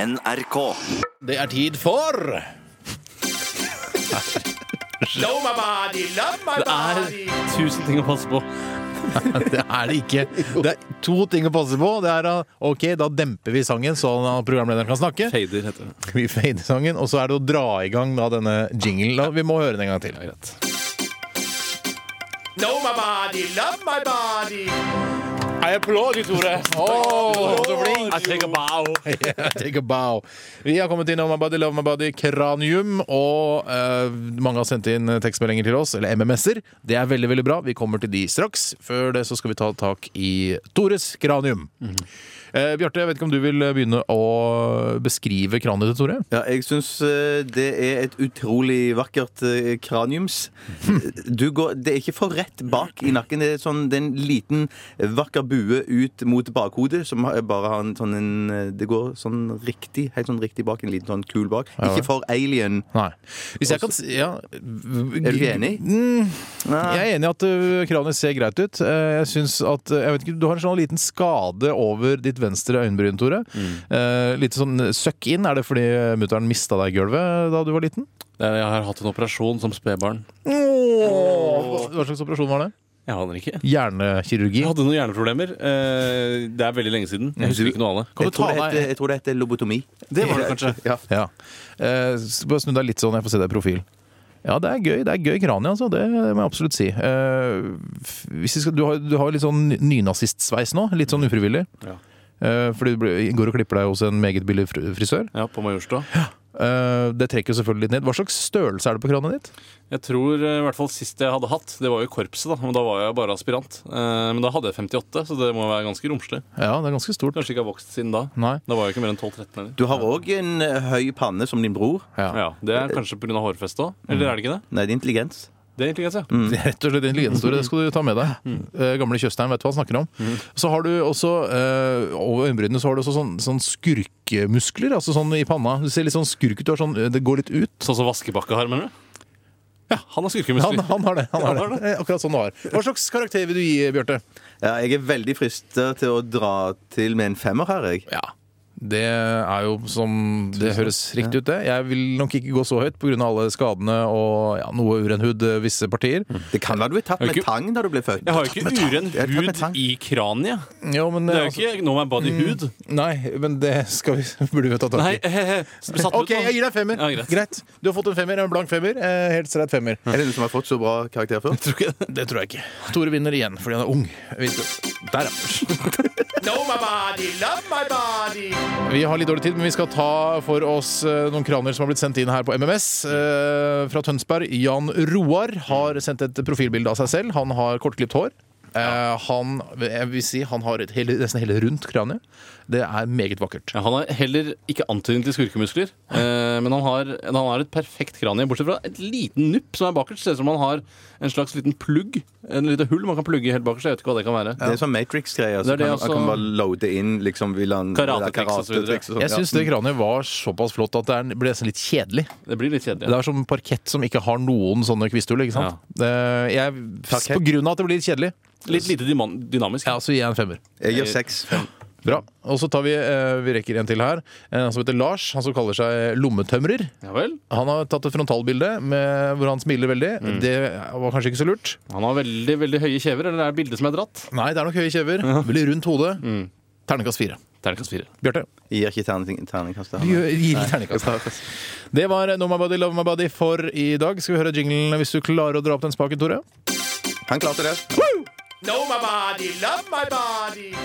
NRK. Det er tid for Love my body, love my Det er body. tusen ting å passe på. Det er det ikke. Det er to ting å passe på. Det er at, OK, da demper vi sangen sånn at programlederen kan snakke. Fader heter det. Vi fader sangen, og så er det å dra i gang da denne jinglen. Da, Vi må høre den en gang til. Ja, greit. Know my body, love my body. Jeg applauderer, Tore. så flink. Jeg trenger bow. Yeah, take a bow. Vi har kommet til Know my body, love my body, Kranium. Og eh, mange har sendt inn tekstmeldinger til oss, eller MMS-er. Det er veldig veldig bra. Vi kommer til de straks. Før det så skal vi ta tak i Tores kranium. Mm. Eh, Bjarte, jeg vet ikke om du vil begynne å beskrive kraniet til Tore? Ja, jeg syns eh, det er et utrolig vakkert eh, kraniums. Du går, det er ikke for rett bak i nakken. Det er, sånn, det er en liten, eh, vakker bue ut mot bakhodet. Som har- bare har en sånn en eh, Det går sånn riktig, helt sånn riktig bak. En liten sånn kul bak. Ikke for alien. Nei. Hvis jeg kan si ja, Mm, Er du ikke enig? Jeg er enig i at ø, kraniet ser greit ut. Eh, Jeg synes at, ø, jeg vet ikke, Du har en sånn liten skade over ditt venstre øyenbryn, Tore. Eh, Litt sånn søkk inn. Er det fordi eh, mutter'n mista deg i gulvet eh, da du var liten? Det er- Jeg har hatt en operasjon som spedbarn. Hva hva slags operasjon var det? Jeg aner ikke. Hjernekirurgi. Jeg hadde noen hjerneproblemer. Eh, Det er veldig lenge siden. Jeg husker ikke noe av det. Kan Jeg du ta tror, det heter, deg jeg tror det heter lobotomi. Det var det kanskje. Ja. Ja. Eh, s- Bare snu deg litt sånn, jeg får se deg i profil. Ja, det er gøy. Det er gøy kranie, altså. Det må jeg absolutt si. Eh, f- hvis vi skal, du, har, du har litt sånn nynazistsveis nå. Litt sånn ufrivillig. Ja. Eh, fordi du ble- går og klipper deg hos en meget billig fr- frisør. Ja, på Majorstua. Eh, det trekker jo selvfølgelig litt ned. Hva slags størrelse er det på kraniet ditt? Jeg tror eh, i hvert fall sist jeg hadde hatt, det var jo i korpset, da. Men da var jeg bare aspirant. Eh, Men da hadde jeg 58, så det må være ganske romslig. Ja, det er ganske stort. Kanskje ikke har vokst siden da. Nei. Da var jeg ikke mer enn 12-13 heller. Du har òg en eh, høy panne som din bror. Ja, Det er kanskje pga. hårfestet òg. Eller er det ikke det? Nei, det er intelligens. Det er intelligens, ja. Det er Mm. Rett og slett intelligenstore, det skal du ta med deg. Eh, gamle Tjøstheim, vet du hva han snakker om. Så har du også, eh, over øyenbrynene, så har du også sånn, sånn skurkemuskler, altså sånn i panna. Du ser litt sånn skurk ut, du har sånn, det går litt ut. Sånn som Vaskebakke har, mener du? Ja, han har Han, skurkemuskler. han har det. han har det. Eh, Akkurat sånn du har. Hva slags karakter vil du gi, Bjarte? Ja, jeg er veldig frista til å dra til med en femmer her, jeg. Ja. Det er jo som Det høres riktig ut, det. Jeg vil nok ikke gå så høyt pga. alle skadene og ja, noe uren hud eh, visse partier. Det kan være du ble tatt Er med det ikke- tang da du ble født. Jeg har jo ikke uren Jeg tar med hud tang. i kraniet. Jo, men, Det eh, er jo ikke no my body hud. altså, Nei, men det skal vi, burde vi ta tak i. Mm. Nei, he-he. Satt sånn? Ok, jeg gir deg femmer. Ja, greit. Du har fått en femmer, en blank femmer. Eh, helt streit femmer. Er det noen som har fått så bra karakter før? Tror ikke det. Det tror jeg ikke. Tore vinner igjen fordi han er ung. Vi skal- Der, ja. Vi har litt dårlig tid, men vi skal ta for oss eh, noen kraner som har blitt sendt inn her på MMS. Eh, fra Tønsberg. Jan Roar har sendt et profilbilde av seg selv. Han har kortklipt hår. Eh, han, jeg vil si, han har et hele, nesten hele rundt kraniet. Det er meget vakkert. Ja, han har heller ikke antydning til skurkemuskler, eh, men han har, han har et perfekt kranie, bortsett fra et liten nupp som er bakerst. Ser ut som han har en slags liten plugg, en lite hull man kan plugge helt bakerst. Jeg vet ikke hva det kan være. Det er sånn Matrix-greier. Det Så er det kan, også- kan man bare loade inn liksom, vil han, Karatetriks og så videre. karatetriks og sånn, Jeg syns det kraniet var såpass flott at det er- ble nesten litt kjedelig. Det blir litt kjedelig. Det er som parkett som ikke har noen sånne kvisthull, ikke sant? Eh, Jeg, Parkett. på grunn av at det blir kjedelig, Litt lite dyman- dynamisk. ja, så gir jeg en femmer. ja. Jeg gir seks. Bra. Og så tar vi, eh, vi rekker en til her, eh, som heter Lars, han som kaller seg Lommetømrer. Ja vel. Han har tatt et frontalbilde med, hvor han smiler veldig. Det var kanskje ikke så lurt. Han har veldig veldig høye kjever, eller det er bildet som er dratt. Nei, det er nok høye kjever. Veldig rundt hode. Ternekast fire. Terningkast fire. Mm. Bjarte, Jeg gir ikke terning- terningkast. til du han. gir ternekast. Det var No My Body, Love My Body for i dag. Skal vi høre jinglen hvis du klarer å dra opp den spaken, Tore? Han klarte det.